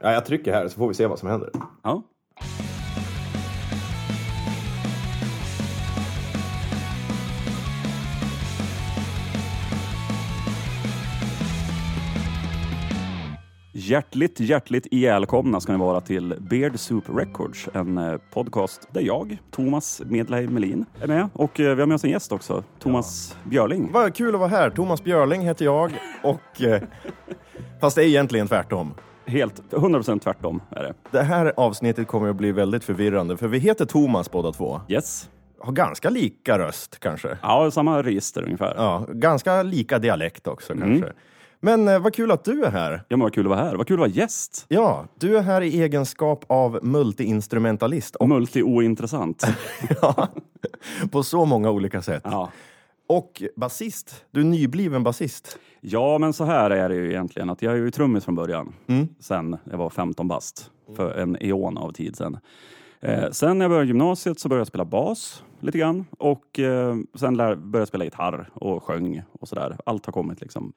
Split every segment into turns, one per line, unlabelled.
Ja, jag trycker här så får vi se vad som händer.
Ja. Hjärtligt, hjärtligt ihjälkomna ska ni vara till Beard Soup Records, en eh, podcast där jag, Thomas Medley Melin, är med och eh, vi har med oss en gäst också, Thomas Björling.
Vad kul att vara här. Thomas Björling heter jag och... Eh, fast det är egentligen tvärtom.
Helt, 100% tvärtom är det.
Det här avsnittet kommer att bli väldigt förvirrande för vi heter Thomas båda två.
Yes.
Har ganska lika röst kanske.
Ja, samma register ungefär. Ja,
Ja, ganska lika dialekt också kanske. Men eh, vad kul att du är här.
men vad kul att vara här. Vad kul att vara gäst.
Ja, du är här i egenskap av multiinstrumentalist och
Multi-ointressant.
ja, på så många olika sätt.
Ja.
Och basist. Du är nybliven basist.
Ja, men så här är det ju egentligen. Att jag är ju trummis från början. Sen jag var 15 bast. För en eon av tid sen. Eh, sen när jag började gymnasiet så började jag spela bas lite grann. Och eh, sen lär, började jag spela gitarr och sjöng och sådär. Allt har kommit liksom.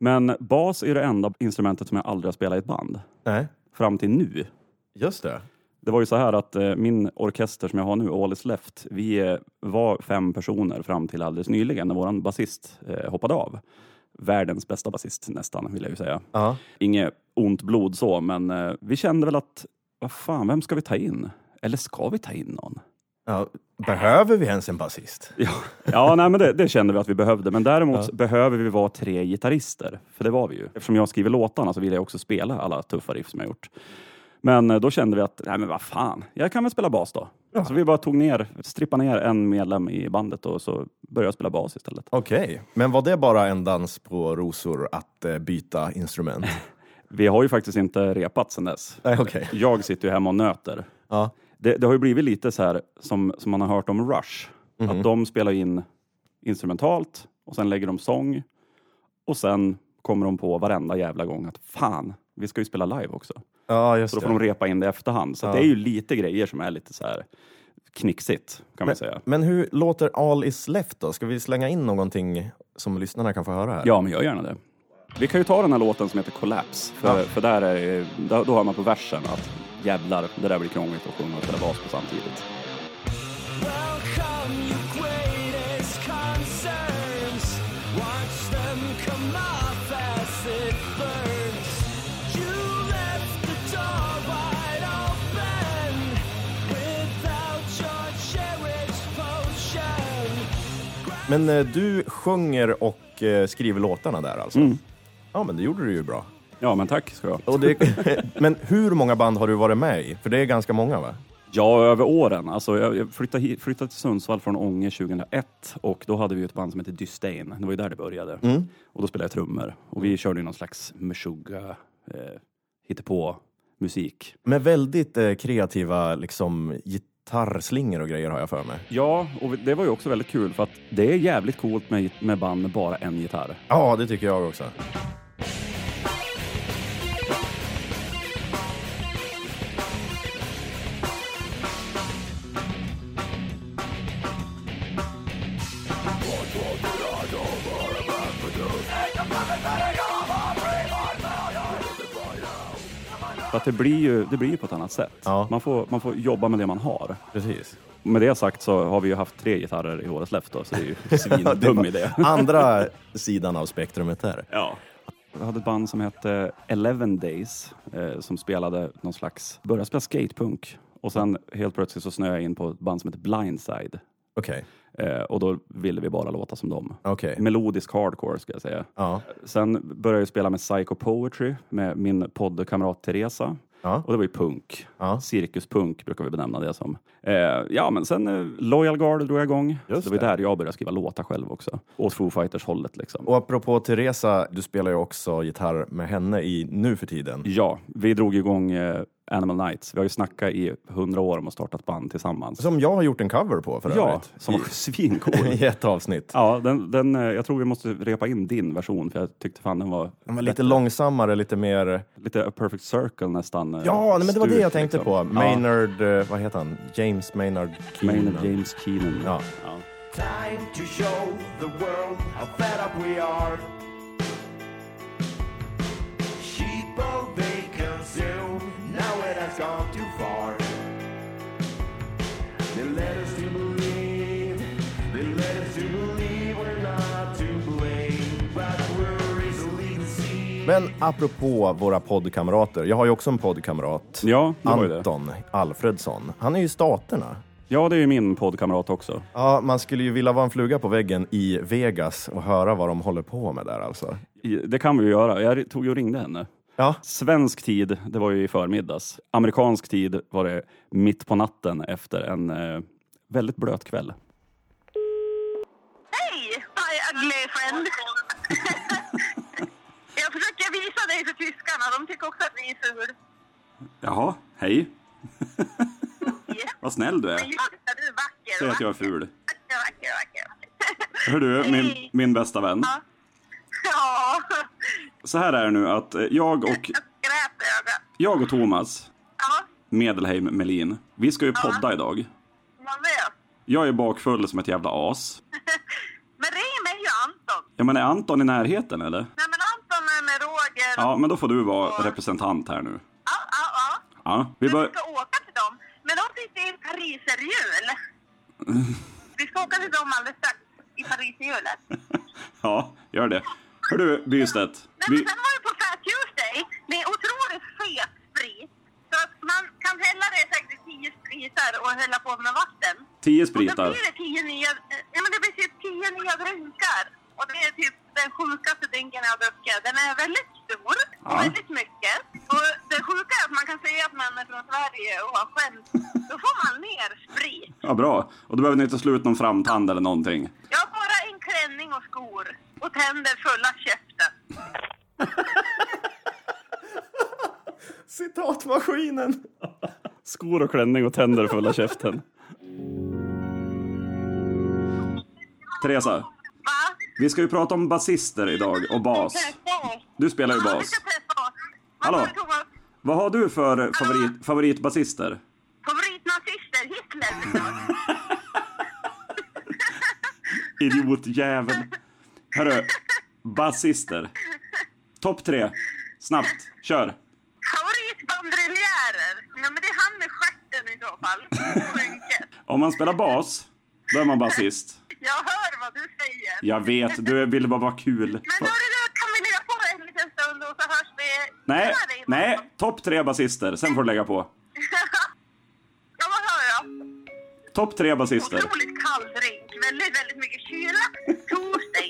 Men bas är det enda instrumentet som jag aldrig har spelat i ett band.
Nej,
Fram till nu.
just det.
Det var ju så här att eh, min orkester som jag har nu, All is left, vi eh, var fem personer fram till alldeles nyligen när våran basist eh, hoppade av. Världens bästa basist nästan, vill jag ju säga.
Ja.
Inget ont blod så, men eh, vi kände väl att, vad fan, vem ska vi ta in? Eller ska vi ta in någon?
Ja, behöver vi ens en basist?
Ja, ja nej, men det, det kände vi att vi behövde. Men däremot behöver vi vara tre gitarrister. För det var vi ju. Eftersom jag skriver låtarna så vill jag också spela alla tuffa riff som jag gjort. Men eh, då kände vi att, nej men vad fan, jag kan väl spela bas då. Så vi bara tog ner, strippade ner en medlem i bandet och så började jag spela bas istället.
Okej, men var det bara en dans på rosor att eh, byta instrument?
Vi har ju faktiskt inte repat sedan dess.
Nej, okej.
Jag sitter ju hemma och nöter.
Ja.
Det, det har ju blivit lite så här som, som man har hört om Rush.
Mhm.
Att de spelar in instrumentalt och sen lägger de sång. Och sen kommer de på varenda jävla gång att fan, vi ska ju spela live också.
Ja, just
Så då
det.
får de repa in det i efterhand. Så att det är ju lite grejer som är lite så här knixigt kan man säga.
Men hur låter All is left då? Ska vi slänga in någonting som lyssnarna kan få höra här?
Ja, men gör gärna det. Vi kan ju ta den här låten som heter Collapse. För, för där är, ju- där, då hör man på versen att jävlar, det där blir krångligt att sjunga och spela bas på samtidigt.
Welcome, your greatest concerns. Watch them come off as it burns. You left the door wide open without your cherished potion.
Men eh, du sjunger och eh, skriver låtarna där alltså?
Mm.
Ja, men det gjorde du ju bra.
Ja, men tack ska jag ha.
Och det, men hur många band har du varit med i? För det är ganska många va?
Ja, över åren. Alltså, jag jag flyttade, hit, flyttade till Sundsvall från Ånge 2001 och då hade vi ju ett band som hette Disdain. Det var ju där det började. Och då spelade jag trummor. Och vi körde ju någon slags meshuggah, eh, hittepå musik.
Med väldigt eh, kreativa liksom, gitarrslingor och grejer har jag för mig.
Ja, och det var ju också väldigt kul för att det är jävligt coolt med, med band med bara en gitarr.
Ja, det tycker jag också.
För att det blir ju, det blir ju på ett annat sätt.
Ja.
Man, får, man får jobba med det man har.
Precis.
Med det sagt så har vi ju haft tre gitarrer i årets left då, så det är ju svindum idé.
Andra sidan av spektrumet här.
Ja. Vi hade ett band som hette Eleven Days eh, som spelade någon slags, började spela skatepunk och sen helt plötsligt så snöade jag in på ett band som hette Blindside
Okej.
eh, och då ville vi bara låta som dem.
Okej.
Melodisk hardcore ska jag säga.
Ja.
Sen började jag spela med Psycho Poetry med min poddkamrat Teresa.
Ja.
Och det var ju punk.
Ja.
Cirkuspunk brukar vi benämna det som. Eh, ja, men sen eh, Loyal Guard drog jag igång.
Just
så det var där jag började skriva låtar själv också. Åt Foo Fighters-hållet liksom.
Och apropå Teresa, du spelar ju också gitarr med henne i nu för tiden.
Ja, vi drog igång eh, Animal Nights. Vi har ju snackat i hundra år om att starta ett band tillsammans.
Som jag har gjort en cover på för
Ja,
övrigt.
som var svincool.
I ett avsnitt.
Ja, den, den, eh, jag tror vi måste repa in din version för jag tyckte fan den var
Den var lite långsammare, lite mer...
lite a perfect circle nästan. eh,
Ja, nej, men det var det
stuk,
jag tänkte
liksom.
på. Maynard, eh, vad heter han? James Maynard
Ja,
Keenan.
Maynard James Keenan.
Ja.
Ja.
Time to show the world how fed up we are. Sheep, oh, they consume has gone too far. They led us to believe, they led us to believe we're not to blame, but we're easily deceived.
Men apropå våra poddkamrater. Jag har ju också en poddkamrat.
Ja, det var ju det.
Anton Alfredsson. Han är ju i Staterna.
Ja, det är ju min poddkamrat också.
Ja, man skulle ju vilja vara en fluga på väggen i Vegas och höra vad de håller på med där alltså.
I- Det kan vi ju göra. Jag tog och ringde henne.
Ja,
Svensk tid, det var ju i förmiddags. Amerikansk tid var det mitt på natten efter en eh, väldigt blöt kväll.
Hej! Hi ugly friend. Jag försöker visa dig för tyskarna. De tycker också att vi är ful.
Jaha, hej.
Ja.
Vad snäll du
Men jag, du är vacker. vacker,
ful.
Vacker, vacker, vacker.
Hör du,
min-
min bästa vän.
Ja,
Så här är det nu att eh, jag och,
jag grät i ögat.
jag och Thomas
Ja,
Medelheim Melin, vi ska ju podda idag.
man vet.
Jag är bakfull som ett jävla as.
Men ring mig ju Anton.
Ja, men är Anton i närheten eller?
Nej men Anton är med Roger.
Ja, men då får du vara representant här nu.
ja, ja. ja.
Ja, vi
Men vi
bör...
ska åka till dem. Men de sitter i pariserhjul. Vi ska åka till dem alldeles strax. I pariserhjulet.
Ja, gör det. Hör du, Bystedt.
Nej,
Vi...
men sen var det på Fat Tuesday. Det är otroligt fet sprit. Så att man kan hälla det säkert i tio spritar och hälla på med vatten.
Tio
Och då
spritar.
blir det tio nya, eh, ja men det blir typ tio nya drinkar. Och det är typ den sjukaste drinken jag har druckit. Den är väldigt stor och
Ja.
väldigt mycket. Och det sjuka är att man kan säga att man är från Sverige och har skämt. Då får man mer sprit.
Ja, bra. Och då behöver ni inte slå ut någon framtand eller någonting.
Jag har bara en klänning och skor och tänder fulla käften.
citatmaskinen.
Skor och klänning och tänder fulla käften. Teresa,
Va?
vi ska ju prata om basister idag och bas.
Testa
Du spelar ju
Ja, vi
bas.
ska testa oss. Vad
Hallå?
sa du, Thomas?
Vad har du för favorit, favoritbasister?
Favoritnazister? Hitler såklart.
Idiotjävel. Hörru, basister. Topp tre. Snabbt, kör.
Favoritbandriljärer? Nej men det är han med stjärten i så fall. Sjunket.
Om man spelar bas, då är man basist.
Jag hör vad du säger.
Jag vet, du vill bara vara kul.
Men hörru du, kan vi lägga på en liten stund och så hörs vi
Nej,
senare imorgon?
nej, topp tre basister. Sen får du lägga på.
ja vad hör jag?
Topp tre basister.
Otroligt kall drink. Väldigt, väldigt mycket kyla. Torsdag.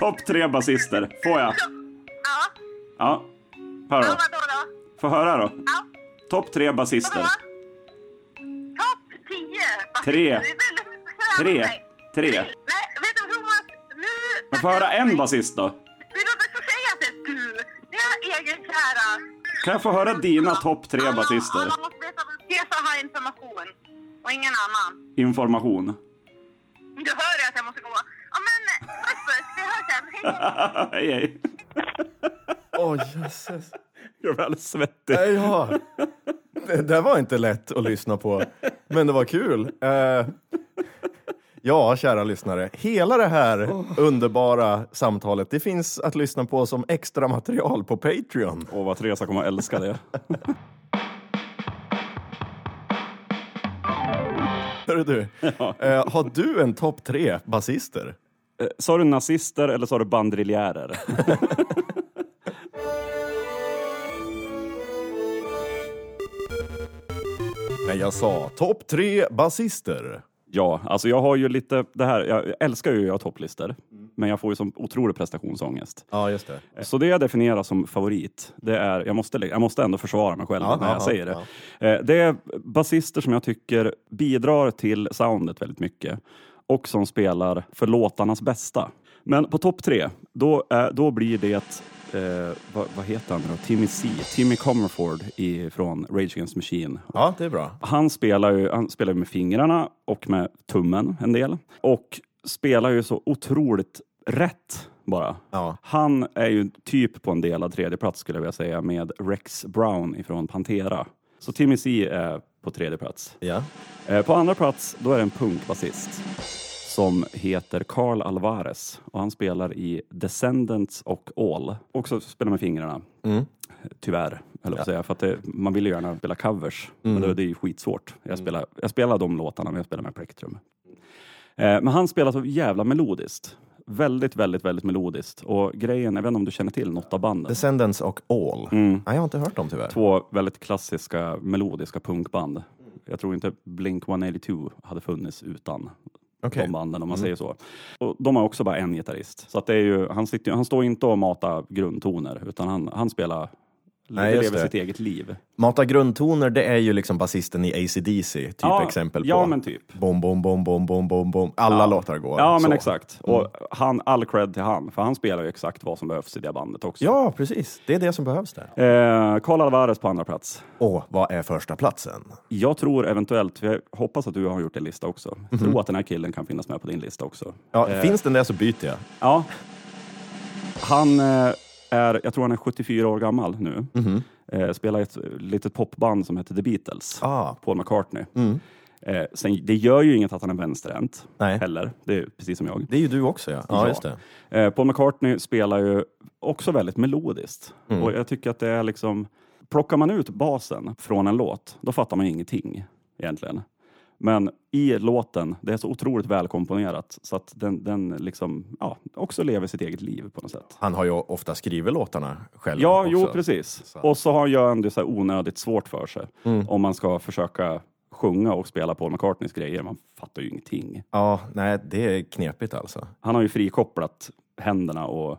Topp tre basister. Får jag?
Ja,
Ja. Hör
ja
då.
vadå då?
Får höra då.
Ja,
Topp tre basister.
vadå? Topp 10.
Tre.
Det är väldigt-
Tre. Tre.
Nej, vet du Thomas? Nu...
Men får höra en basist då?
Vi behöver inte säga att det är du. Det är egen kära.
Kan jag få höra dina topp tre
Alla-
basister?
Alla måste veta vem Cesar har information. Och ingen annan.
Information.
Du hör ju att jag måste gå. Ja men puss puss, vi hörs sen. Hej då.
hej, hej.
Åh jösses.
Jag blir alldeles svettig.
Nej, Ja. Det där var inte lätt att lyssna på, men det var kul. Eh, ja, kära lyssnare. Hela det här underbara samtalet det finns att lyssna på som extra material på Patreon.
Åh, vad Teresa kommer att älska det.
Hörru du, eh, har du en topp tre basister?
Eh, Sa du nazister eller sa du bandriljärer?
Nej, jag sa topp tre basister.
ja, alltså jag har ju lite det här. Jag älskar ju att göra topplistor, men jag får ju som otrolig prestationsångest.
Ja, just det.
Eh, Så det jag definierar som favorit, det är, jag måste, jag måste ändå försvara mig själv
Ja,
när
ja,
jag
ja,
säger det. Eh, Det är basister som jag tycker bidrar till soundet väldigt mycket och som spelar för låtarnas bästa. Men på topp tre, då, är- då blir det, eh, vad, vad heter han nu då? Timmy C, Timmy Comerford i, från Rage Against the Machine
Ja, det är bra.
han spelar ju han spelar ju med fingrarna och med tummen en del. Och spelar ju så otroligt rätt bara.
Ja.
Han är ju typ på en delad tredje plats skulle jag vilja säga med Rex Brown ifrån Pantera. Så Timmy C är på tredje plats.
Ja.
Eh, På andra plats, då är det en punkbasist. som heter Carl Alvarez och han spelar i Descendants och All. Också spelar med fingrarna. Tyvärr, höll jag på att säga. För att det, man vill ju gärna spela covers, men det, det är ju skitsvårt. Jag spelar, jag spelar de låtarna, men jag spelar med plektrum. Eh, Men han spelar så jävla melodiskt. Väldigt, väldigt, väldigt melodiskt. Och grejen, jag vet inte om du känner till något av banden?
Descendants och All. Nej, jag har inte hört dem tyvärr.
två väldigt klassiska melodiska punkband. Jag tror inte Blink 182 hade funnits utan
Okej. Mm.
de banden om man säger så. Och de har också bara en gitarrist. Så att det är ju, han, sitter, ju- han står inte och matar grundtoner utan han, han spelar
Nej,
lever
just det.
sitt eget liv.
Mata grundtoner, det är ju liksom basisten i ACDC, typ
Ja,
exempel på.
ja, men typ.
Bom, bom, bom, bom, bom, bom, bom. Alla låtar går
Ja, men
så. Mm.
exakt. Och han, all cred till han, för han spelar ju exakt vad som behövs i det bandet också.
Ja, precis. Det är det som behövs där.
Eh, Carl Alvarez på andra plats.
Och vad är första platsen?
Jag tror eventuellt, för jag hoppas att du har gjort en lista också.
Mm-hmm.
Jag tror att den här killen kan finnas med på din lista också.
Ja, Finns den där så byter jag.
Ja. Han eh, är, jag tror han är 74 år gammal nu.
Mhm.
Eh, Spelar i ett litet popband som heter The Beatles.
Ah. Mm.
Paul McCartney. Eh, Sen, det gör ju inget att han är vänsterhänt
Nej.
heller. Det är precis som jag.
Det är ju du också ja. Ja, just det.
Eh, Paul McCartney spelar ju också väldigt melodiskt.
Mm.
Och jag tycker att det är liksom... Plockar man ut basen från en låt, då fattar man ju ingenting egentligen. Men i låten, det är så otroligt välkomponerat så att den, den liksom, ja, också lever sitt eget liv på något sätt.
Han har ju ofta skrivit låtarna själv
Ja,
också.
jo precis. Och så har gör han det så här onödigt svårt för sig
Mm.
om man ska försöka sjunga och spela Paul McCartneys grejer. Man fattar ju ingenting.
Ja, nej, det är knepigt alltså.
Han har ju frikopplat händerna och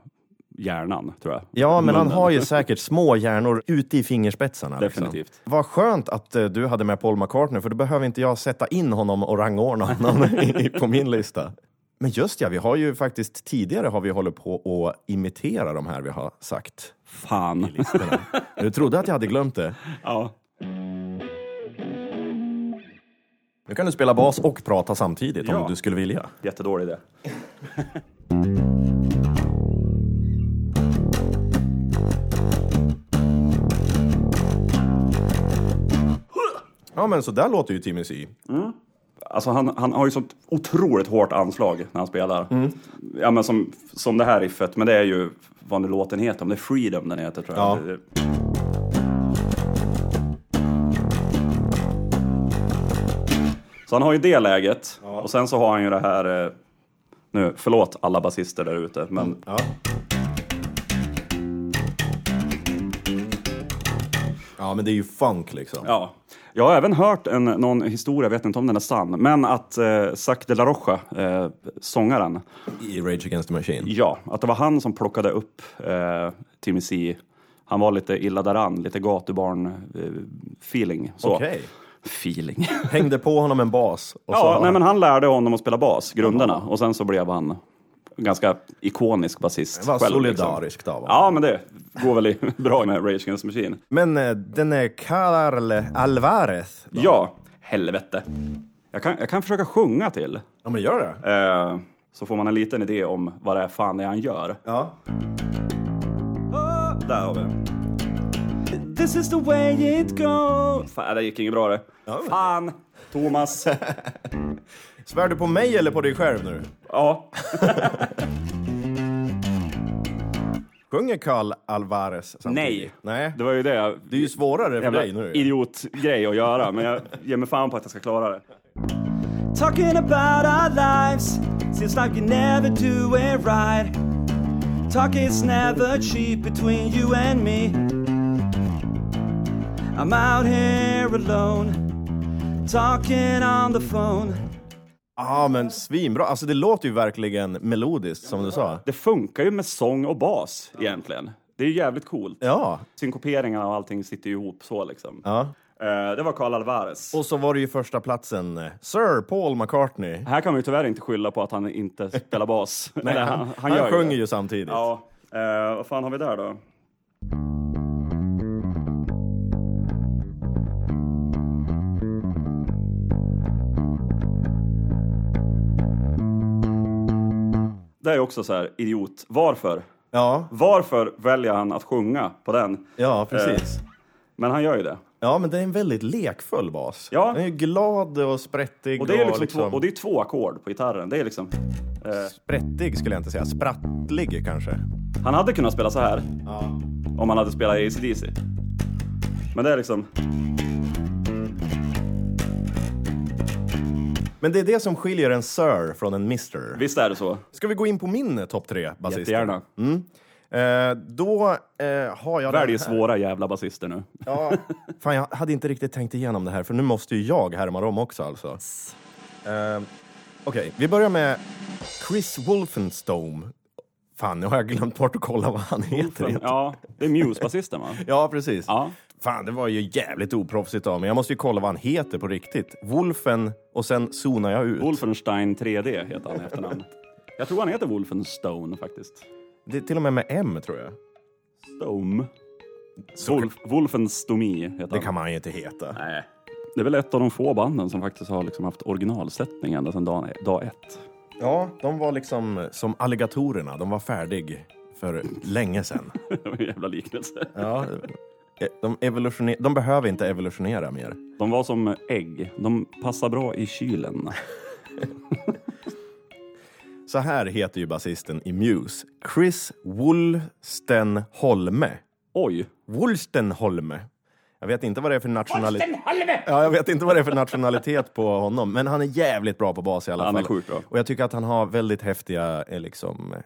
hjärnan, tror jag.
Ja, men han
Munnen.
har ju säkert små hjärnor ute i fingerspetsarna.
Definitivt.
Liksom. Vad skönt att eh, du hade med Paul McCartney, för då behöver inte jag sätta in honom och rangordna honom i- i- på min lista. Men just ja, vi har ju faktiskt tidigare har vi hållit på och imitera de här vi har sagt.
Fan.
Du trodde att jag hade glömt det.
Ja.
Nu kan du spela bas och prata samtidigt
Ja.
om du skulle vilja.
Jättedålig idé.
Ja, men så där låter ju Timmy C.
Alltså han, han har ju sånt otroligt hårt anslag när han spelar. Ja, men som, som det här riffet, men det är ju vad nu låten heter, om det är Freedom den heter tror jag.
Ja.
Det- det- Så han har ju det läget och sen så har han ju det här, eh, nu förlåt alla basister där ute, men
Ja. Ja, men det är ju funk liksom.
Ja. Jag har även hört en, någon historia, jag vet inte om den är sann, men att eh, Zac de la Rocha, eh, sångaren,
I Rage Against the Machine.
ja, att det var han som plockade upp eh, Timmy C. Han var lite illa däran, lite eh, gatubarn-feeling.
Okej.
Feeling.
Hängde på honom en bas. Och
ja,
så,
nej, men han lärde honom att spela bas, grunderna, och sen så blev han ganska ikonisk basist.
Vad
själv, liksom.
solidariskt av honom.
Ja, men det går väl i, bra med Rage Against the Machine.
Men eh, den är Carl Alvarez.
Ja, helvete. Jag kan, jag kan försöka sjunga till.
Ja, men gör det.
Eh, så får man en liten idé om vad det är fan det är han gör.
Ja.
Där har vi den. This is the way it goes. Fan, äh, det gick inget bra det.
men-
Fan! Thomas.
Svär du på mig eller på dig själv nu?
ja.
Sjunger Carl Alvarez samtidigt?
Nej.
Nej.
Det var ju det. jag-
Det är ju svårare för
jävla
dig nu.
idiotgrej att göra, men jag ger mig fan på att jag ska klara det. Talking about our lives Seems like you never do it right Talk is never cheap between you and me I'm out here alone Talking on the phone
Ja, men svinbra. Alltså, det låter ju verkligen melodiskt, som du sa.
Det funkar ju med sång och bas egentligen. Det är ju jävligt coolt.
Ja.
Synkoperingarna och allting sitter ju ihop så liksom.
ja.
Eh, Det var Carl Alvarez.
Och så var det ju första platsen eh, Sir Paul McCartney.
Här kan man ju tyvärr inte skylla på att han inte spelar bas. Nej,
han, han,
gör
sjunger
det.
ju samtidigt.
Ja. Eh, vad fan har vi där då? Det är ju också så här, idiot. Varför?
Ja,
Varför väljer han att sjunga på den?
ja precis.
Men han gör ju det.
Ja, men det är en väldigt lekfull bas.
Ja.
Den är ju glad och sprättig
Och det är,
och,
liksom
liksom,
Två, och det är två ackord på gitarren. Det är liksom... Eh,
sprättig skulle jag inte säga. Sprattlig kanske.
han hade kunnat spela så här
Ja.
om han hade spelat ACDC. Men det är liksom...
Men det är det som skiljer en Sir från en Mister.
Visst är det så?
Ska vi gå in på min eh, topp tre basist?
Jättegärna.
Mm. Eh, då eh, har jag... den
Välj
här.
svåra jävla basister nu.
Ja. Fan, jag hade inte riktigt tänkt igenom det här, för nu måste ju jag härma dem också alltså. Eh, Okej, vi börjar med Chris Wolfenstone. Fan, nu har jag glömt bort att kolla vad han heter. Ja.
Ja, det är Muse-basisten va?
ja, precis.
Ja.
Fan, det var ju jävligt oproffsigt av mig. Jag måste ju kolla vad han heter på riktigt. Wolfen, och sen zonar jag ut.
Wolfenstein 3D heter han i efternamn. Jag tror han heter Wolfenstone faktiskt.
Det är till och med med M, tror jag.
Stome. Wolf, Wolfenstomi heter han.
Det kan man ju inte heta.
Nej. Det är väl ett av de få banden som faktiskt har liksom haft originalsättning ända sedan dag, dag ett.
Ja, de var liksom som alligatorerna. De var färdig för länge sedan.
Det var en jävla liknelse.
Ja. eh, De, evolutioner- de behöver inte evolutionera mer.
De var som ägg. De passar bra i kylen.
Så här heter ju basisten i Muse. Chris Wollstenholme.
Oj!
Wollstenholme. Jag vet inte vad det är för nationalitet. Ja, jag vet inte vad det är för nationalitet på honom, men han är jävligt bra på bas i alla
Han är
fall.
sjukt bra.
Och jag tycker att han har väldigt häftiga, eh, liksom... eh,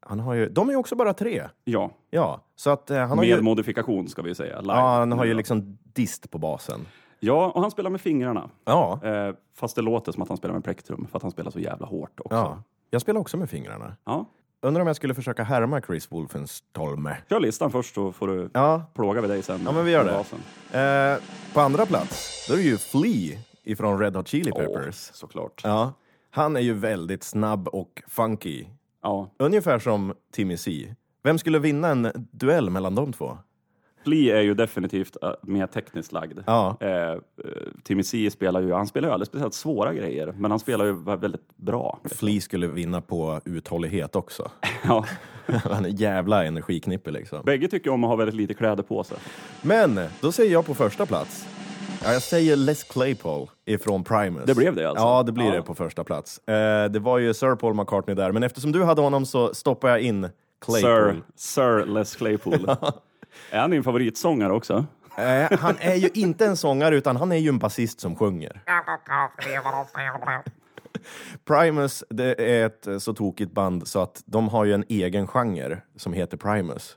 Han har ju, de är ju också bara tre.
Ja,
Ja, så att eh, han har
med
ju...
modifikation ska vi säga. Live.
Ja, han har ju liksom dist på basen.
Ja, och han spelar med fingrarna.
Ja,
Eh, fast det låter som att han spelar med plektrum för att han spelar så jävla hårt också.
ja. Jag spelar också med fingrarna.
ja.
Undrar om jag skulle försöka härma Chris Wolfenstolme.
Kör listan först så får du
Ja,
plåga vid dig sen.
ja men vi gör
med
det.
basen.
Eh, på andra plats, då är det ju Flea ifrån Red Hot Chili Peppers.
Åh, såklart. Ja.
Ja. Han är ju väldigt snabb och funky. Ungefär som Timmy C. Vem skulle vinna en duell mellan de två?
Flea är ju definitivt eh, mer tekniskt lagd.
Ja.
Eh, eh, Timmy C spelar ju, han spelar ju aldrig speciellt svåra grejer, men han spelar ju vä- väldigt bra.
Flea skulle vinna på uthållighet också.
Ja.
Han är jävla energiknippe liksom.
Bägge tycker om att ha väldigt lite kläder på sig.
Men då säger jag på första plats. Ja, jag säger Les Claypool ifrån Primus.
Det blev det alltså?
Ja, det blir
Ja.
det på första plats. Eh, det var ju Sir Paul McCartney där, men eftersom du hade honom så stoppar jag in Claypool.
Sir, Sir Les Claypool. Är han din favoritsångare också?
Eh, han är ju inte en sångare, utan han är ju en basist som sjunger. Primus, det är ett eh, så tokigt band så att de har ju en egen genre som heter Primus.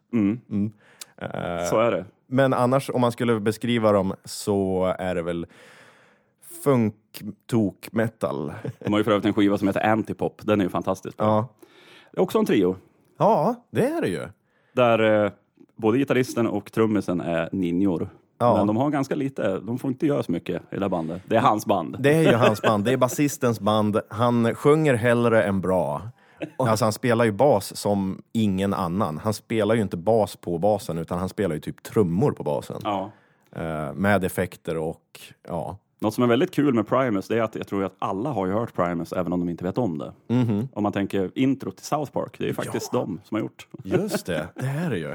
Eh.
Så är det.
Men annars, om man skulle beskriva dem så är det väl funk, tok, metal.
De har ju för övrigt en skiva som heter Antipop. Den är ju fantastisk.
Ja.
Det är också en trio
Ja, det är det ju.
där eh, både gitarristen och trummisen är ninjor.
Ja.
Men de har ganska lite, de får inte göra så mycket i det här bandet. Det är hans band.
Det är ju hans band. Det är basistens band. Han sjunger hellre än bra. Alltså han spelar ju bas som ingen annan. Han spelar ju inte bas på basen, utan han spelar ju typ trummor på basen.
Ja.
Eh, med effekter och ja.
Något som är väldigt kul med Primus det är att jag tror att alla har ju hört Primus även om de inte vet om det.
Mhm.
Om man tänker intro till South Park, det är ju faktiskt de som har gjort.
Just det, det är det ju.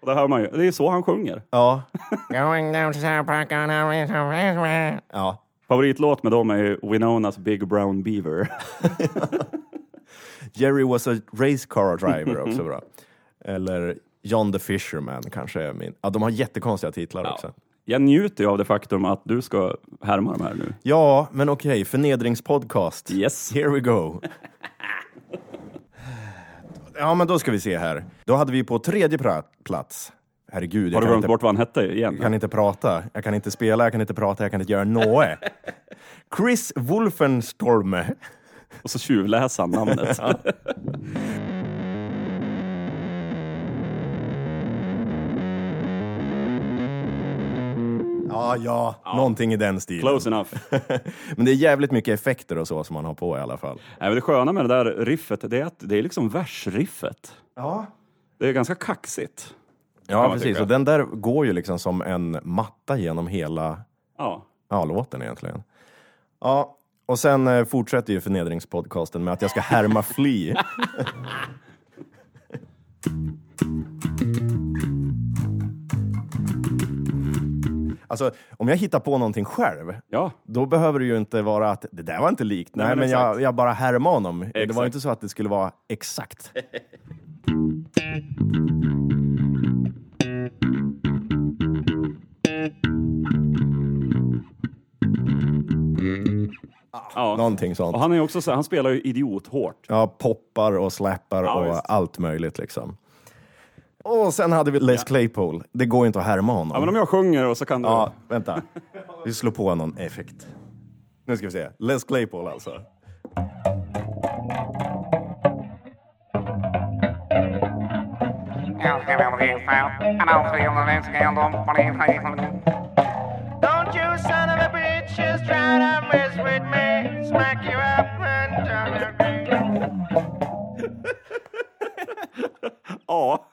Och det hör man ju, det är så han sjunger.
Ja.
Going down to South Park on our way to Roswell.
ja.
Favoritlåt med dem är ju Winonas Big Brown Beaver.
Jerry was a race car driver också bra. Eller John the Fisherman kanske är min. Ja, de har jättekonstiga titlar också.
Jag njuter ju av det faktum att du ska härma de här nu.
Ja, men okej, förnedringspodcast.
Yes.
Here we go. Ja, men då ska vi se här. Då hade vi på tredje pra- plats. Herregud, jag
Har du
kan
glömt
inte,
bort vad han hette igen?
jag kan inte prata. Jag kan inte spela, jag kan inte prata, jag kan inte göra något. Chris Wolfenstorme.
Och så tjuvläser han namnet.
Ja, ja, någonting i den stilen.
Close enough.
Men det är jävligt mycket effekter och så som man har på i alla fall.
Nej, men det sköna med det där riffet det är att det är liksom versriffet.
Ja,
Det är ganska kaxigt.
ja
man
precis.
tycka.
Och den där går ju liksom som en matta genom hela
Ja.
ja, låten egentligen. Ja, och sen eh, fortsätter ju förnedringspodcasten med att jag ska härma Flea. Alltså, om jag hittar på någonting själv,
Ja,
då behöver det ju inte vara att det där var inte likt. Nej,
men
men
exakt.
jag, jag bara härmade honom. Det var
Exakt.
ju inte så att det skulle vara exakt.
ja.
Någonting sånt.
Och han, är ju också så, han spelar ju idiot-hårt.
Ja, poppar och slappar
Ja,
och
visst.
allt möjligt liksom. Och sen hade vi Les Claypool. Det går ju inte att härma honom.
Ja, men om jag sjunger och så kan du...
Ja, vänta. Vi slår på någon effekt. Nu ska vi se. Les Claypool alltså.
Don't you son of a bitch just try to mess with me. Smack you up and down your grave.
Ja,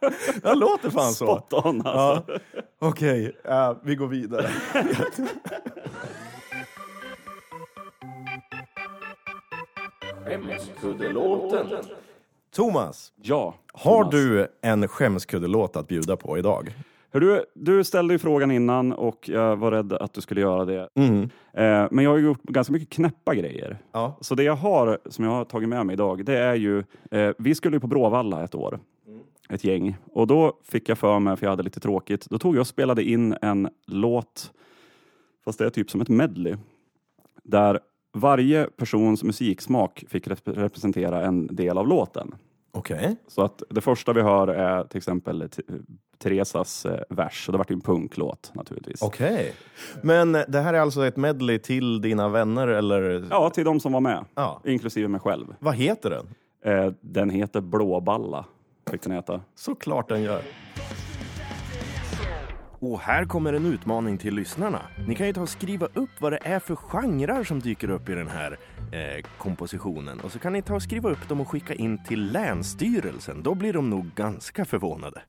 Det låter fan så.
spot on alltså.
Okej, eh, vi går vidare. Thomas,
Ja.
har
Thomas.
du en skämskuddelåt att bjuda på idag?
Hör Du, du ställde ju frågan innan och jag var rädd att du skulle göra det. Eh, men jag har ju gjort ganska mycket knäppa grejer.
Ja.
Så det jag har, som jag har tagit med mig idag, det är ju... Eh, vi skulle ju på Bråvalla ett år, ett gäng. Och då fick jag för mig, för jag hade lite tråkigt, då tog jag och spelade in en låt, fast det är typ som ett medley, där varje persons musiksmak fick rep- representera en del av låten.
Okej.
Så att det första vi hör är till exempel T- Teresas eh, vers. Och det vart ju en punklåt naturligtvis.
Okej. Men eh, det här är alltså ett medley till dina vänner eller?
Ja, till de som var med.
Ja.
Inklusive mig själv.
Vad heter den?
Eh, den heter Blåballa. Fick den heta.
Såklart den gör. Och här kommer en utmaning till lyssnarna. Ni kan ju ta och skriva upp vad det är för genrer som dyker upp i den här eh, kompositionen. Och så kan ni ta och skriva upp dem och skicka in till Länsstyrelsen. Då blir de nog ganska förvånade.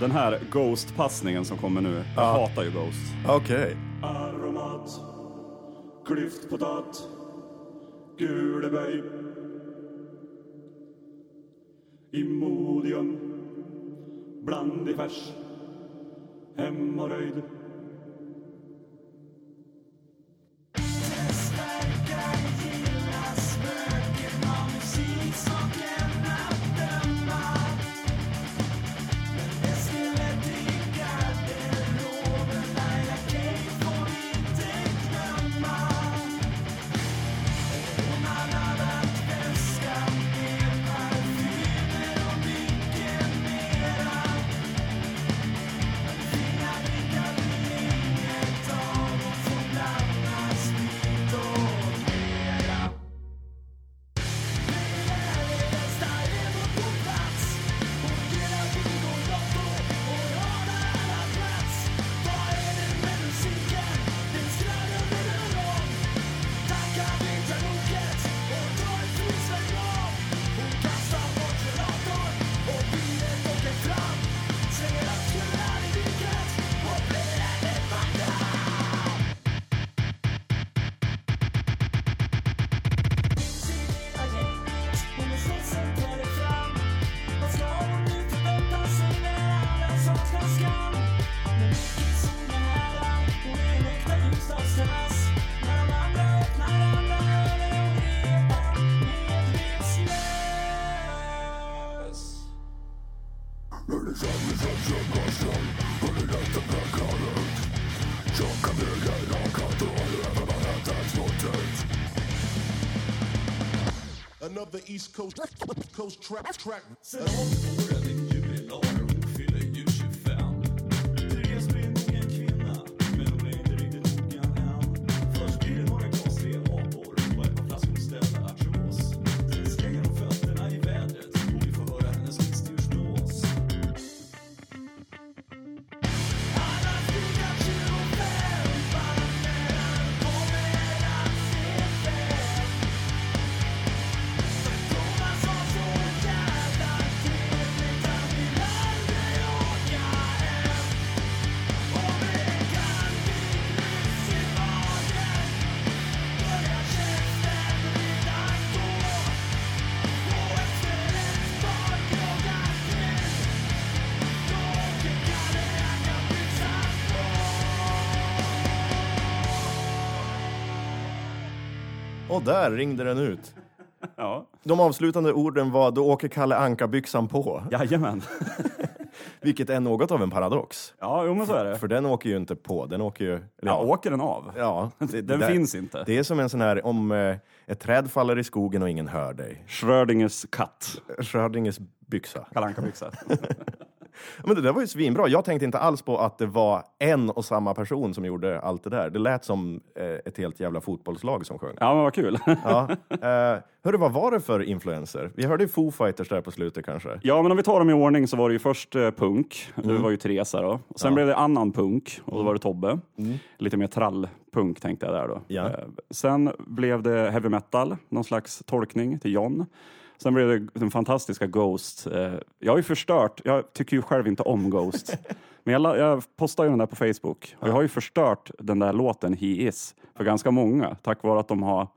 Den här Ghost-passningen som kommer nu. Jag hatar ju Ghost.
Okej.
Aromat, klyftpotat, guleböj, Imodium, bland i färs, hemorröjd.
Thank another East Coast Coast track track.
Och där ringde den ut.
Ja.
De avslutande orden var då åker Kalle Anka-byxan på,
Jajamän.
vilket är något av en paradox.
Ja, jo men så är det.
För den åker ju inte på, den åker ju... eller
Ja, åker den av?
Ja, det-
Den
det-
finns inte.
Det är som en sån här om eh, ett träd faller i skogen och ingen hör dig.
Schrödingers katt.
Schrödingers byxa.
Kalle Anka-byxa.
Men det där var ju svinbra. Jag tänkte inte alls på att det var en och samma person som gjorde allt det där. Det lät som eh, ett helt jävla fotbollslag som sjöng.
Ja, men vad kul.
Ja. Eh, hörru, vad var det för influenser? Vi hörde ju Foo Fighters där på slutet kanske.
Ja, men om vi tar dem i ordning så var det ju först eh, punk. Du var ju Teresa då. Och sen blev det annan punk och då var det Tobbe. Lite mer trallpunk tänkte jag där då.
Ja.
Eh, Sen blev det heavy metal, någon slags tolkning till John. Sen blev det den fantastiska Ghost. Eh, Jag har ju förstört, jag tycker ju själv inte om Ghost. Men jag, la- jag postade ju den där på Facebook. Och jag har ju förstört den där låten He Is för ganska många tack vare att de har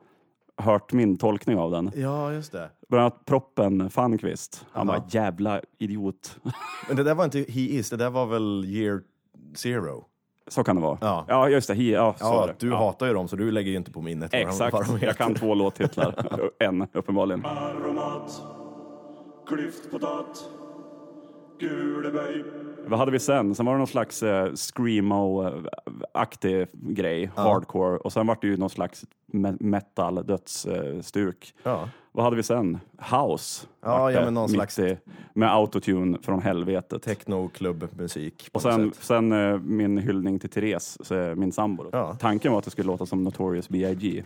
hört min tolkning av den.
Ja, just det.
Bland annat proppen Fankvist. Han bara jävla idiot.
Men det där var inte He Is, det där var väl Year Zero?
Så kan det vara.
Ja.
just det. He, ja, så var
Ja,
det.
du
ja.
hatar ju dem så du lägger ju inte på minnet vad de- vad de
Exakt.
heter.
Jag kan två låttitlar. en, uppenbarligen.
Baromat. Klyftpotat. Guleböj.
Vad hade vi sen? Sen var det någon slags eh, screamo-aktig grej. Hardcore. Och sen var det ju någon slags me- metal-dödsstuk.
Ja.
Vad hade vi sen? House.
Ja,
vart
ja,
det,
men någon
mitt
slags-
i- Med autotune från helvetet.
Technoklubbmusik. på
Och sen,
något sätt.
sen eh, min hyllning till Therese, så, eh, min sambo. då.
Ja.
Tanken var att det skulle låta som Notorious B.I.G.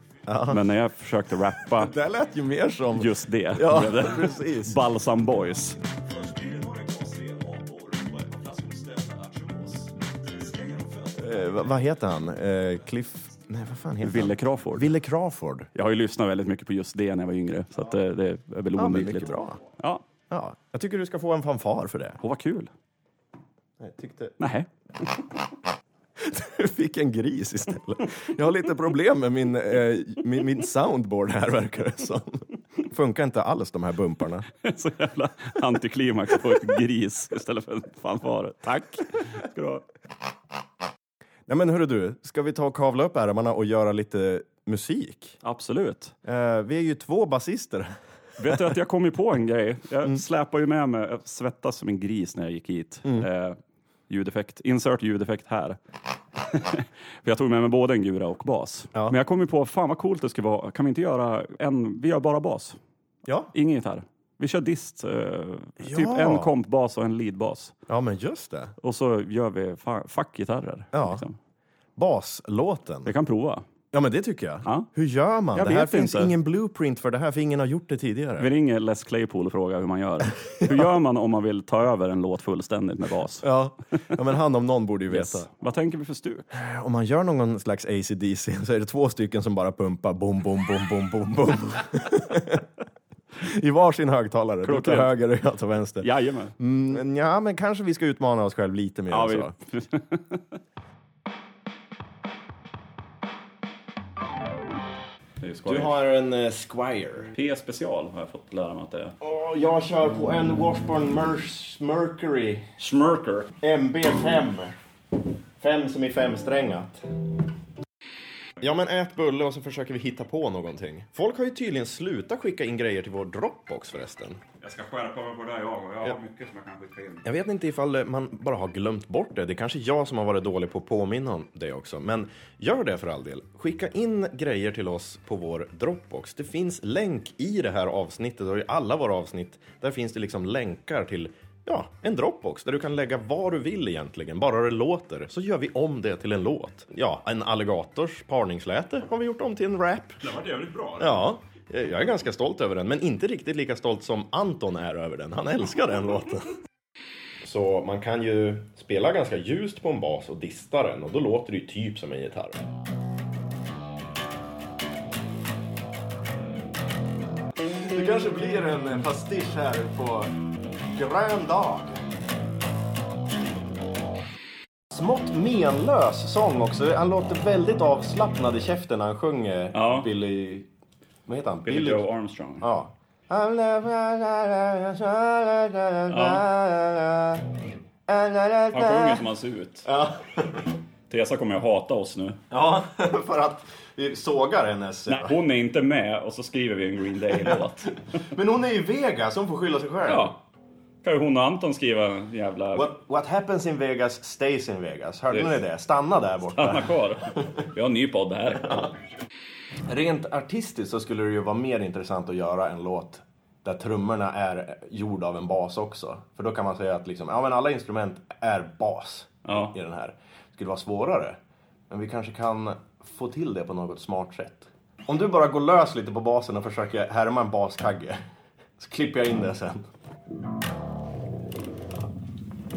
Men när jag försökte rappa
Det där lät ju mer som...
just det,
Ja,
blev det
precis.
Balsam Boys.
Eh, vad- vad heter han? Eh, Cliff... Nej, vad fan heter
Ville
han?
Crawford.
Ville Crawford.
Jag har ju lyssnat väldigt mycket på just det när jag var yngre, så att, eh, det är väl
Ja, men
oundvikligt.
mycket bra.
Ja,
Ja, jag tycker du ska få en fanfar för det.
och vad kul.
Jag tyckte...
Nej.
Du fick en gris istället. Jag har lite problem med min, eh, min, min soundboard här, verkar det som. Funkar inte alls de här bumparna.
Så jävla antiklimax att få ett gris istället för en fanfar. Tack! Ska du ha.
Nej, men hörru du, ska vi ta och kavla upp ärmarna och göra lite musik?
Absolut.
Eh, vi är ju två basister.
Vet du att jag kom ju på en grej. Jag
Mm.
släpar ju med mig, jag svettas som en gris när jag gick hit.
Mm.
Eh, ljudeffekt, insert ljudeffekt här. För jag tog med mig både en gura och bas.
Ja.
Men jag kom ju på, fan vad coolt det skulle vara. Kan vi inte göra en, vi gör bara bas.
Ja.
Ingen gitarr. Vi kör dist, eh, typ
Ja.
en kompbas och en leadbas.
Ja, men just det.
Och så gör vi fa- fuck-gitarrer.
Ja.
liksom.
Baslåten.
Vi kan prova.
Ja, men det tycker jag.
Ja.
Hur gör man?
Jag
det här
vet
finns
inte.
ingen blueprint för det här, för ingen har gjort det tidigare.
Vi ringer Les Claypool och frågar hur man gör. Hur gör man om man vill ta över en låt fullständigt med bas?
Ja. ja, men han om någon borde ju veta.
Yes. Vad tänker vi för stuk?
Om man gör någon slags AC/DC så är det två stycken som bara pumpar bom, bom, bom, bom, bom, bom. I varsin högtalare. Du tar
Klockrent.
höger och jag tar vänster.
Jajamän.
Mm, ja, men kanske vi ska utmana oss själva lite mer.
Ja,
än
vi-
så.
Det är ju skoj.
en eh, Squire.
P special har jag fått lära mig att det är.
Och jag kör på en Washburn Mercury
Smirker.
MB5. Fem som i femsträngat. Ja men ät bulle och så försöker vi hitta på någonting. Folk har ju tydligen slutat skicka in grejer till vår Dropbox förresten.
Jag ska skärpa mig på det jag och jag
Ja.
har mycket som jag kan skicka in.
Jag vet inte ifall man bara har glömt bort det. Det är kanske jag som har varit dålig på att påminna om det också. Men gör det för all del. Skicka in grejer till oss på vår Dropbox. Det finns länk i det här avsnittet och i alla våra avsnitt. Där finns det liksom länkar till ja, en Dropbox där du kan lägga vad du vill egentligen. Bara det låter så gör vi om det till en låt. Ja, en alligators parningsläte har vi gjort om till en rap.
Det var jävligt bra.
Ja, eh, jag är ganska stolt över den, men inte riktigt lika stolt som Anton är över den. Han älskar den låten. Så man kan ju spela ganska ljust på en bas och dista den och då låter det ju typ som en gitarr. Det kanske blir en pastisch här på grön dag. Smått menlös sång också. Han låter väldigt avslappnad i käften när han sjunger
Ja.
Billy... Vad heter han?
Billy Joe Armstrong.
Ja.
Han sjunger som han ser ut.
Ja.
Tessa kommer att hata oss nu.
Ja, för att vi sågar hennes...
Nej, hon är inte med och så skriver vi en Green Day-låt.
Men hon är i Vegas, hon får skylla sig själv.
Ja. Kan ju hon och Anton skriva en jävla...
What, what happens in Vegas stays in Vegas. Hörde ni
Precis.
det? Stanna där borta.
Stanna kvar. Vi har en ny podd här.
Rent artistiskt så skulle det ju vara mer intressant att göra en låt där trummorna är gjorda av en bas också. För då kan man säga att liksom, ja, men alla instrument är bas
Ja.
i den här. Det skulle vara svårare. Men vi kanske kan få till det på något smart sätt. Om du bara går lös lite på basen och försöker härma en baskagge. Så klipper jag in det sen.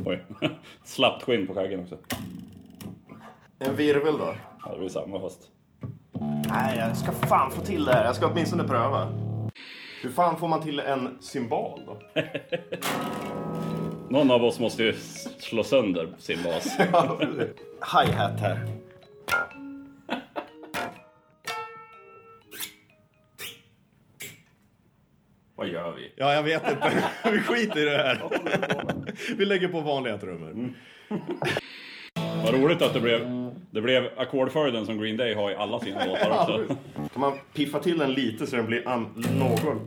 Oj. Slappt skinn på skäggen också.
En virvel då?
Ja, det blir samma fast.
Nej, jag ska fan få till det här. Jag ska åtminstone pröva. Hur fan får man till en cymbal då?
Någon av oss måste ju s- slå sönder sin bas.
Hi-hat här.
Vad gör vi?
Ja, jag vet inte. Vi skiter i det här. Vi lägger på vanliga trummor. Mm.
Vad roligt att det blev, det blev ackordföljden som Green Day har i alla sina låtar också.
Kan man piffa till den lite så den blir an- någon...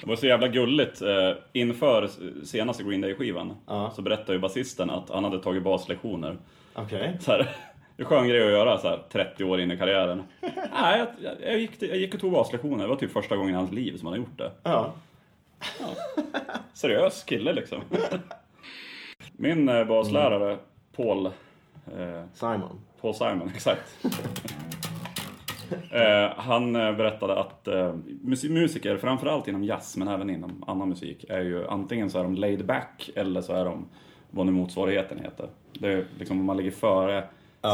Det var så jävla gulligt. eh, Inför s- senaste Green Day-skivan
Ja.
så berättade ju basisten att han hade tagit baslektioner.
Okej.
Så här, det är skön grej att göra så här, 30 år in i karriären. Nej, jag, jag- jag, gick, till- jag gick och tog baslektioner. Det var typ första gången i hans liv som han har gjort det.
Ja.
Seriös kille liksom. Min eh, baslärare, Paul, eh,
Simon.
Paul Simon, exakt. Eh, han eh, berättade att eh, mus- musiker, framförallt inom jazz men även inom annan musik, är ju antingen så är de laid back eller så är de vad nu motsvarigheten heter. Det är liksom om man ligger före,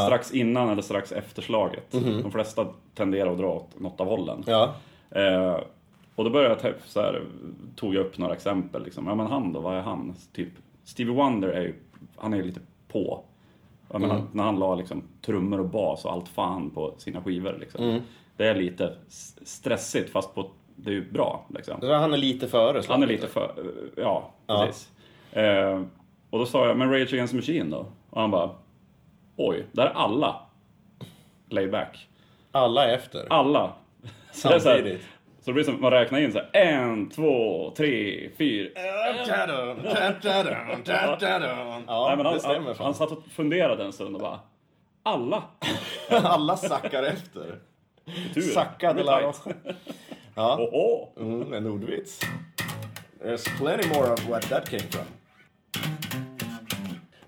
strax innan eller strax efter slaget. De flesta tenderar att dra åt något av hållen.
Ja.
Eh, och då började jag ta, så här, tog jag upp några exempel. Liksom. Ja men han då, vad är han? Typ, Stevie Wonder är ju, han är ju lite på. Jag menar, när han la liksom, trummor och bas och allt fan på sina skivor. Liksom. Det är lite s- stressigt fast på, det är ju bra. Liksom.
Han är lite före.
Han är lite för... Ja, precis. Eh, och då sa jag, men Rage Against the Machine då? Och han bara, oj, där är alla layback.
Alla är efter.
Alla. Så det är så, här,
Samtidigt.
så det blir som man räknar in så här, en, två, tre, fyra.
Ja,
Nej, men han,
det stämmer
han,
fan.
han satt och funderade en stund och bara, alla.
Alla sackar efter.
Tur.
Sackade
Det blir
Lars.
tajt.
Ja.
Oho.
Mm, en ordvits. There's plenty more of what that came from.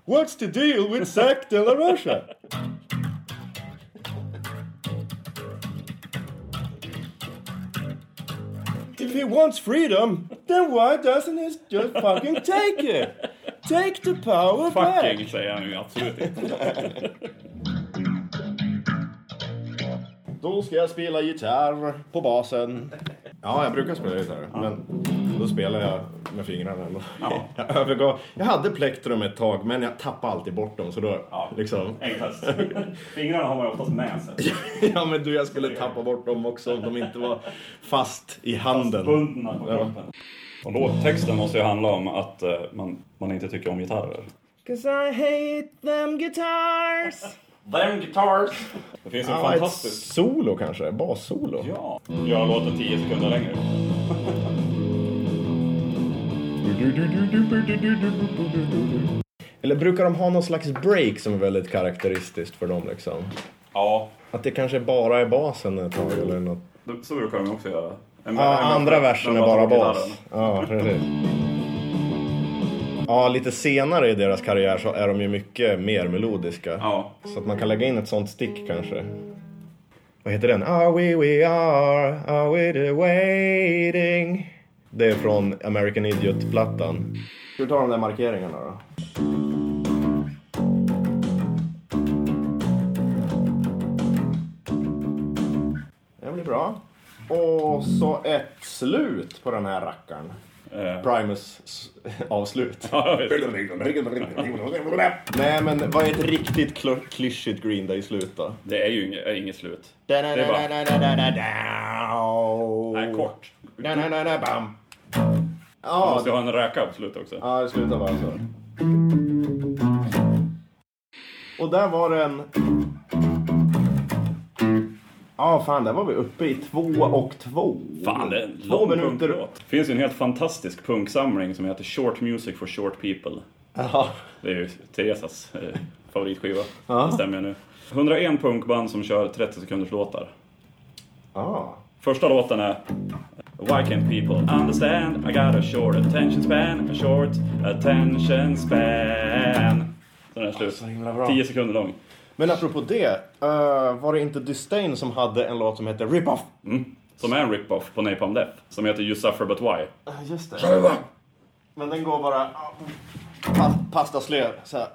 What's the deal with Zack de la Rocha? If he wants freedom, then why doesn't he just fucking take it? Take the power
Fucking säger han ju absolut inte.
Då ska jag spela gitarr på basen. Ja, jag brukar spela gitarr, men då spelar jag med fingrarna. ändå. Jag övergav. Jag hade plektrum ett tag, men jag tappade alltid bort dem. Så då, liksom.
Enklast. Fingrarna har man ju oftast med sig.
ja, men du, jag skulle tappa bort dem också om de inte var fast i handen.
Bundna på kroppen. Och låttexten måste ju handla om att eh, man, man inte tycker om gitarrer.
Cause I hate them guitars.
Them guitars!
Det finns en
Ja,
fantastisk...
Ett solo kanske, bassolo.
Ja. Gör låten 10 sekunder längre.
Eller brukar de ha någon slags break som är väldigt karaktäristiskt för dem liksom?
Ja,
Att det kanske bara är basen ett tag eller något.
det- så brukar de också göra. En-
Ja,
en-
andra
en-
versen är
en-
bara
en-
bas. Ja, precis. Ja, lite senare i deras karriär så är de ju mycket mer melodiska.
Ja.
Så att man kan lägga in ett sånt stick kanske. Vad heter den? Are we we are, are we the waiting? Det är från American Idiot-plattan. Ska vi ta de där markeringarna då? Det blir bra. Och så ett slut på den här rackaren. Primus s- avslut. Nej men vad är ett riktigt kl- klyschigt Green Day-slut då?
Det är ju inget, är inget slut.
Det
bara-
är
Nej, kort.
Bam.
Man
Ja,
måste ju ha en räka på slutet också.
ja, det slutar bara så. Och där var den... Ja, fan, där var vi uppe i två och två.
Fan, det är en
Två
lång
minuter.
punklåt. Det finns ju en helt fantastisk punksamling som heter Short Music for Short People.
Ja.
Det är ju Teresas eh, favoritskiva. Det stämmer ju nu. 101 punkband som kör 30 sekunders låtar.
Ja.
Första låten är eh, Why can't people understand? I got a short attention span, a short attention span. Sen är den slut.
Så himla bra.
10 sekunder lång.
Men apropå det, eh, var det inte Disdain som hade en låt som hette Rip Off?
Som är en rip-off på Napalm Death, som heter You Suffer But Why.
Ja, Eh, Just det. Men den går bara... ah, Pa, pastaslö, så här.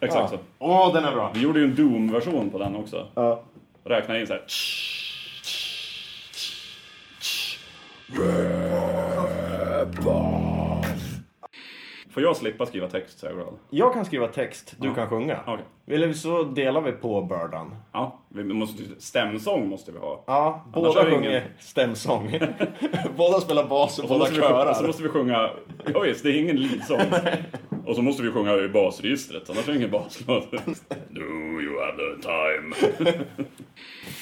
Exakt så.
Åh, den är bra.
Vi gjorde ju en Doom-version på den också.
Ja.
Räkna in så här. Får jag slippa skriva text så är jag glad.
Jag kan skriva text, du kan sjunga.
Okej.
Eller så delar vi på bördan.
Ja, vi måste, stämsång måste vi ha.
Ja, båda
har jag
sjunger
ingen-
stämsång. båda spelar bas och
Så
båda
måste, vi, sjunga-
körar.
så måste vi sjunga, ja visst, det är ingen leadsång. Och så måste vi sjunga i basregistret, annars är det ingen baslåt. Do you have the time?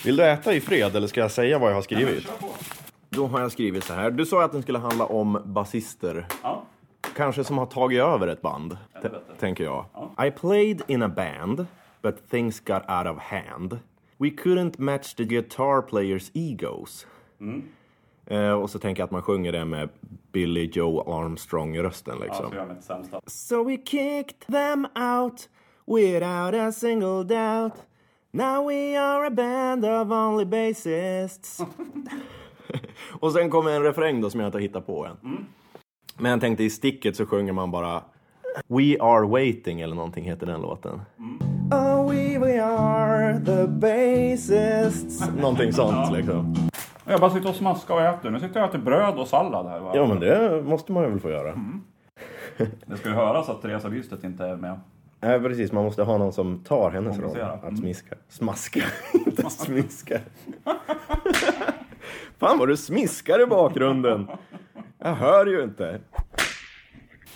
Vill du äta i fred eller ska jag säga vad jag har skrivit? Då har jag skrivit så här. Du sa att den skulle handla om basister.
Ja.
Kanske som har tagit över ett band, t- tänker jag. I played in a band, but things got out of hand. We couldn't match the guitar players' egos.
Mm.
Eh, och så tänker jag att man sjunger det med Billy Joe Armstrong-rösten liksom.
Så gör vi ett sämsta.
So we kicked them out without a single doubt. Now we are a band of only bassists. Och sen kommer en refräng då som jag inte har hittat på än. Men jag tänkte i sticket så sjunger man bara We are waiting eller någonting heter den låten. Oh we, we are the bassists. någonting sånt liksom.
Jag bara sitter och smaskar och äter. Nu sitter jag och äter bröd och sallad här. Va?
Ja men det måste man ju väl få göra.
Det ska ju höras att Teresa Bystedt inte är med.
Nej precis, man måste ha någon som tar hennes roll.
Kompensera.
Att smiska. Smaska, inte smiska. Fan vad du smiskar i bakgrunden. Jag hör ju inte.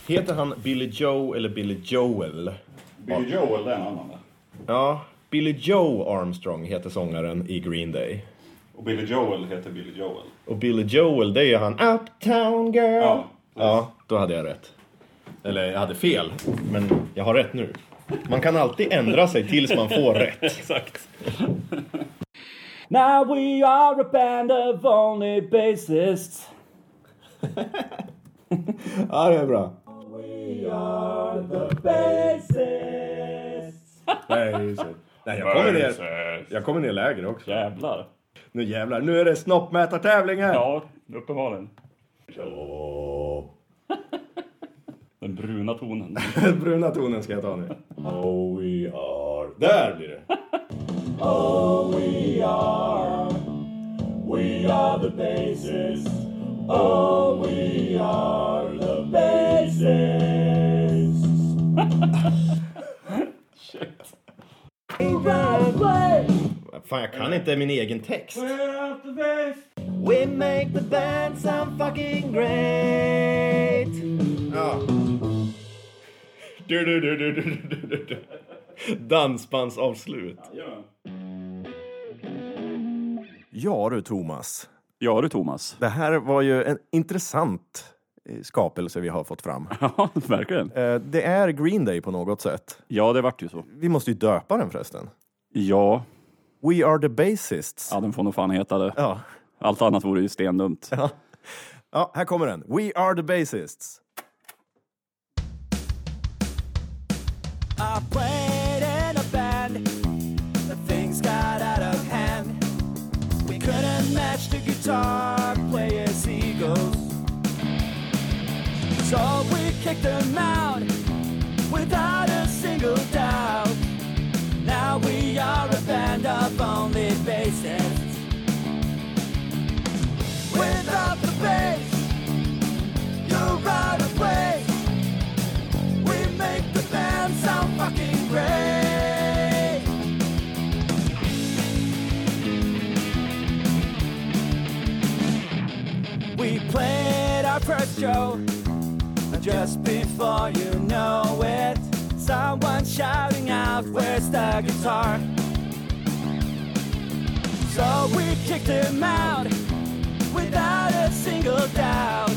Heter han Billy Joe eller Billy Joel?
Billy Joel, det är en annan där.
Ja, Billy Joe Armstrong heter sångaren i Green Day.
Och Billy Joel heter Billy Joel.
Och Billy Joel, det är ju han Uptown Girl.
Ja.
Ja, då hade jag rätt. Eller jag hade fel, men jag har rätt nu. Man kan alltid ändra sig tills man får rätt.
Exakt. Now we are a band of only bassists.
Ja, det är bra. We are the bassists. Nej, just det. Nej, jag kommer ner. Jag kommer ner lägre också.
eh, Jävlar.
Nu jävlar, nu är det snoppmätartävlingen!
Ja, uppenbarligen. Den bruna tonen.
Den bruna tonen ska jag ta nu. Oh we are... Där blir det! Oh we are... We are the bassists.
Oh, we are the bassists.
Fan, jag kan inte min egen text.
We make the band sound fucking great.
Ja. Du, du, du, du, du, du, du, du. Dansbandsavslut. Ja du Thomas,
Ja du Thomas.
det här var ju en intressant eh, skapelse vi har fått fram.
Ja, verkligen.
Eh, Det är Green Day på något sätt.
Ja, det vart ju så.
Vi måste ju döpa den förresten.
Ja,
We are the Bassists.
ja den får nog fan heta det.
Ja.
Allt annat vore ju stendumt.
ja, här kommer den. We are the Bassists.
I played in a band, but things got out of hand. We couldn't match the guitar player's egos. So we kicked them out without a single doubt. Now we are a band of only bassists. Without the bass, you're out of place. We make the band sound fucking great. We played our first show and just before you know it. Someone shouting out, Where's the guitar? So we kicked him out without a single doubt.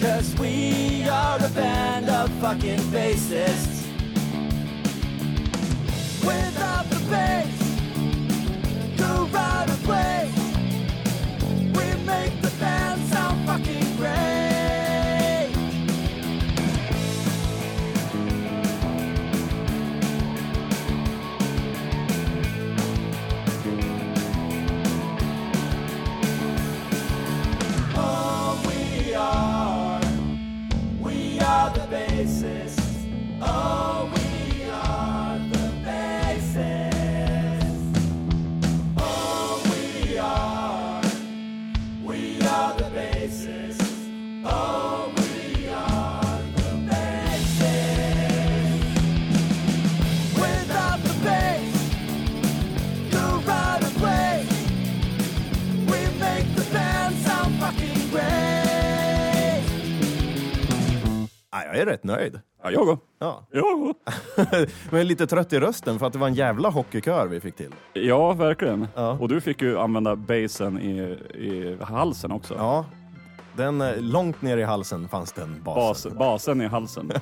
Cause we are a band of fucking bassists. Without the bass, you're out of place. We make the band sound fucking great. Oh, we are. We are the bassists. Oh, we are the bassists. Oh, we are. We are the bassists. Oh, we are the bassists. Without the bass, you're out of place. We make the band sound fucking great.
Ja, jag är rätt nöjd.
Ja, jag går.
Ja.
Jag går.
Men lite trött i rösten för att det var en jävla hockeykör vi fick till.
Ja, verkligen.
Ja.
Och du fick ju använda basen i, i halsen också.
Ja, den eh, långt ner i halsen fanns den basen.
Bas, basen i halsen.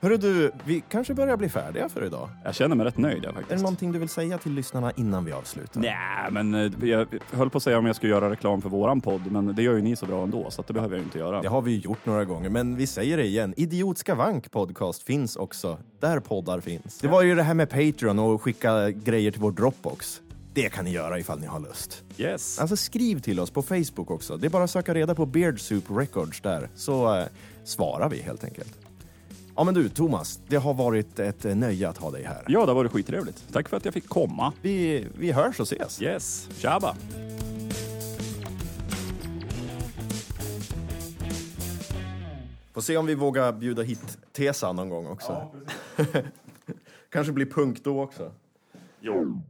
Hörru du, vi kanske börjar bli färdiga för idag.
Jag känner mig rätt nöjd jag,
Är det
faktiskt.
någonting du vill säga till lyssnarna innan vi avslutar?
Nej, men eh, jag höll på att säga om jag skulle göra reklam för våran podd, men det gör ju ni så bra ändå, så att det behöver jag inte göra.
Det har vi ju gjort några gånger, men vi säger det igen. Idiotska vank podcast finns också, där poddar finns. Det var ju det här med Patreon och skicka grejer till vår Dropbox. Det kan ni göra ifall ni har lust.
Yes.
Alltså skriv till oss på Facebook också. Det är bara att söka reda på Beard Soup Records där, så eh, svarar vi helt enkelt. Ja men du, Thomas, det har varit ett eh, nöje att ha dig här.
Ja, det var det skittrevligt. Tack för att jag fick komma.
Vi, vi hörs och ses.
Yes. Tjaba!
Får se om vi vågar bjuda hit Tesa någon gång också. Kanske blir punk då också.
Jo.